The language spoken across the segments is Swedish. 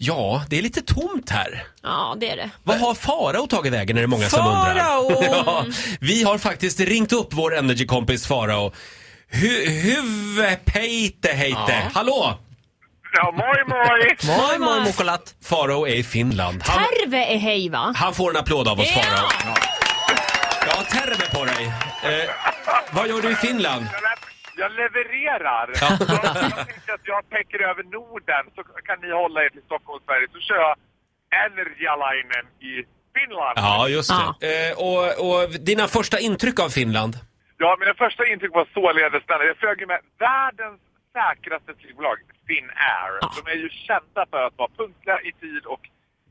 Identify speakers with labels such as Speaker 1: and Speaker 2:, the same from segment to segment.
Speaker 1: Ja, det är lite tomt här.
Speaker 2: Ja, det är det.
Speaker 1: Vad har Farao tagit vägen är det många som undrar.
Speaker 2: Farao!
Speaker 1: ja, vi har faktiskt ringt upp vår Energy-kompis Farao. Hu- Huvepeite heite. Hallå!
Speaker 3: Ja, moj moj!
Speaker 4: Moi, moi,
Speaker 2: moi.
Speaker 4: mokolat.
Speaker 1: Farao är i Finland. Han,
Speaker 2: Terve är hej va?
Speaker 1: han får en applåd av oss
Speaker 2: Ja.
Speaker 1: Farao. Ja, terve på dig. Eh, vad gör du i Finland?
Speaker 3: Men att Jag levererar. Ja. Jag tänkte att jag täcker över Norden så kan ni hålla er till Stockholm, Sverige. Så kör jag Energialainen i Finland.
Speaker 1: Ja, just det. Eh, och, och dina första intryck av Finland?
Speaker 3: Ja, mina första intryck var således denna. Jag flög ju med världens säkraste flygbolag, Finnair. De är ju kända för att vara punktliga i tid och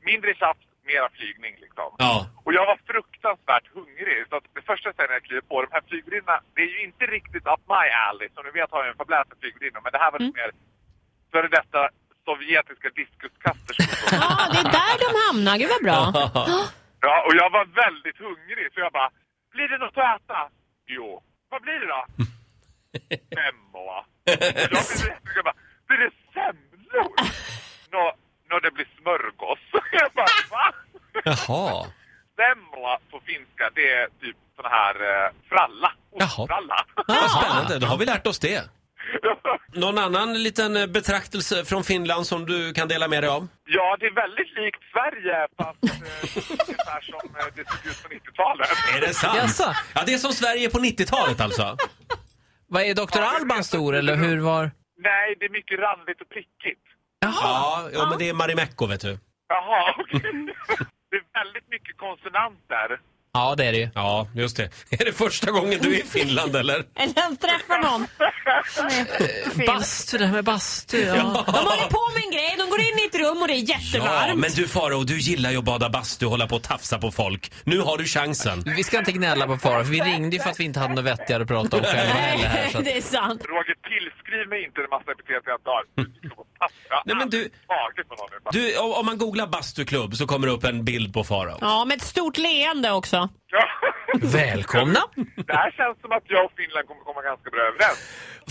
Speaker 3: mindre tjafs, mera flygning liksom.
Speaker 1: Ja.
Speaker 3: Och jag var fruktansvärt hungrig. Så att det första sen jag kliver på, de här flygvärdinnorna, det är ju inte riktigt up my alley. Som ni vet har jag en fäbless för flygvärdinnor, men det här var lite mer före detta sovjetiska diskuskaster. som det var.
Speaker 2: Ja, det är där de hamnar. Gud vad bra.
Speaker 3: Ja, och jag var väldigt hungrig så jag bara, blir det något att äta? Jo. Vad blir det då? Semla. Jag blev så- jag bara, blir det semlor? Nå, nå det blir smörgås. Jag bara, va?
Speaker 1: Jaha.
Speaker 3: Semla på finska, det är typ sån här eh, fralla. Ostfralla.
Speaker 1: Vad spännande, då har vi lärt oss det. Någon annan liten eh, betraktelse från Finland som du kan dela med dig av?
Speaker 3: Ja, det är väldigt likt Sverige fast eh, ungefär som eh, det såg ut på 90-talet.
Speaker 1: Är det sant?
Speaker 4: Jaså?
Speaker 1: Ja, det är som Sverige på 90-talet alltså.
Speaker 4: Vad är Dr. Alban stor eller hur var?
Speaker 3: Nej, det är mycket randigt och prickigt.
Speaker 1: Ja, ja men det är Marimekko vet du.
Speaker 3: Jaha, okej. Det är väldigt mycket konsonanter.
Speaker 4: Ja, det är det ju.
Speaker 1: Ja, just det. Är det första gången du är i Finland eller?
Speaker 2: Eller ens träffar någon. som är fin.
Speaker 4: Bastu, det här med bastu. Ja.
Speaker 2: De håller på med en grej, de går in i ett rum och det är jättevarmt.
Speaker 1: men du Faro, du gillar ju att bada bastu och hålla på och tafsa på folk. Nu har du chansen.
Speaker 4: Vi ska inte gnälla på Farao, för vi ringde ju för att vi inte hade något vettigare att prata om själva heller här. Så att...
Speaker 2: det är sant.
Speaker 3: Roger, tillskriv mig inte en massa epitet jag inte har. Du ska få tafsa.
Speaker 1: Nej, men du-
Speaker 3: Taget på någon nu.
Speaker 1: Du, om om man googlar bastuklubb så kommer det upp en bild på Faro.
Speaker 2: Ja, med ett stort leende också.
Speaker 3: Ja.
Speaker 4: Välkomna!
Speaker 3: Det här känns som att jag och Finland kommer komma ganska bra överens.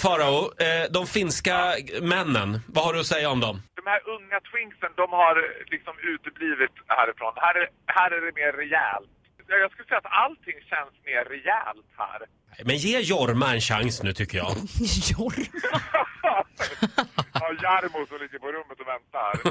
Speaker 1: Farao, eh, de finska männen, vad har du att säga om dem?
Speaker 3: De här unga twinksen, de har liksom uteblivit härifrån. Här är, här är det mer rejält. Ja, Jag skulle säga att allting känns mer rejält här.
Speaker 1: Men ge Jorma en chans nu tycker jag.
Speaker 2: Jorma.
Speaker 3: Ja, Jarmo som ligger på rummet och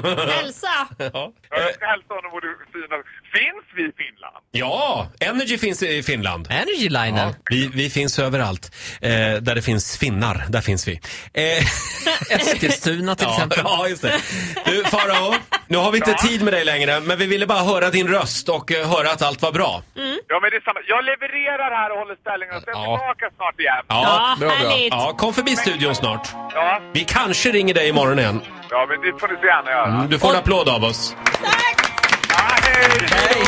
Speaker 3: väntar.
Speaker 2: Elsa!
Speaker 1: Ja.
Speaker 3: Ja, Jag ska hälsa honom och du fina. Finns vi i Finland?
Speaker 1: Ja, Energy finns i Finland.
Speaker 4: Energylinen.
Speaker 1: Vi, vi finns överallt. Eh, där det finns finnar, där finns vi. Eh,
Speaker 4: Eskilstuna till
Speaker 1: ja,
Speaker 4: exempel.
Speaker 1: ja, just det. Du, Farao, nu har vi inte tid med dig längre, men vi ville bara höra din röst och eh, höra att allt var bra.
Speaker 3: Ja, men det är samma. Jag levererar här och håller ställningen och sen
Speaker 1: Ja.
Speaker 3: tillbaka snart igen.
Speaker 1: Ja,
Speaker 2: Ja,
Speaker 4: bra, bra.
Speaker 2: härligt.
Speaker 1: ja, kom förbi studion snart.
Speaker 3: Ja,
Speaker 1: Vi kanske ringer dig imorgon igen.
Speaker 3: ja men det får du så gärna göra.
Speaker 1: Mm, Du får en applåd av oss.
Speaker 3: Ja, hej!
Speaker 1: Hej!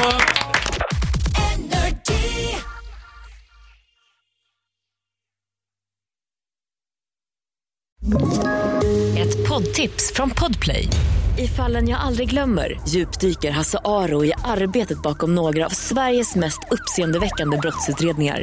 Speaker 5: Ett poddtips från Podplay. I fallen jag aldrig glömmer djupdyker Hasse Aro i arbetet bakom några av Sveriges mest uppseendeväckande brottsutredningar.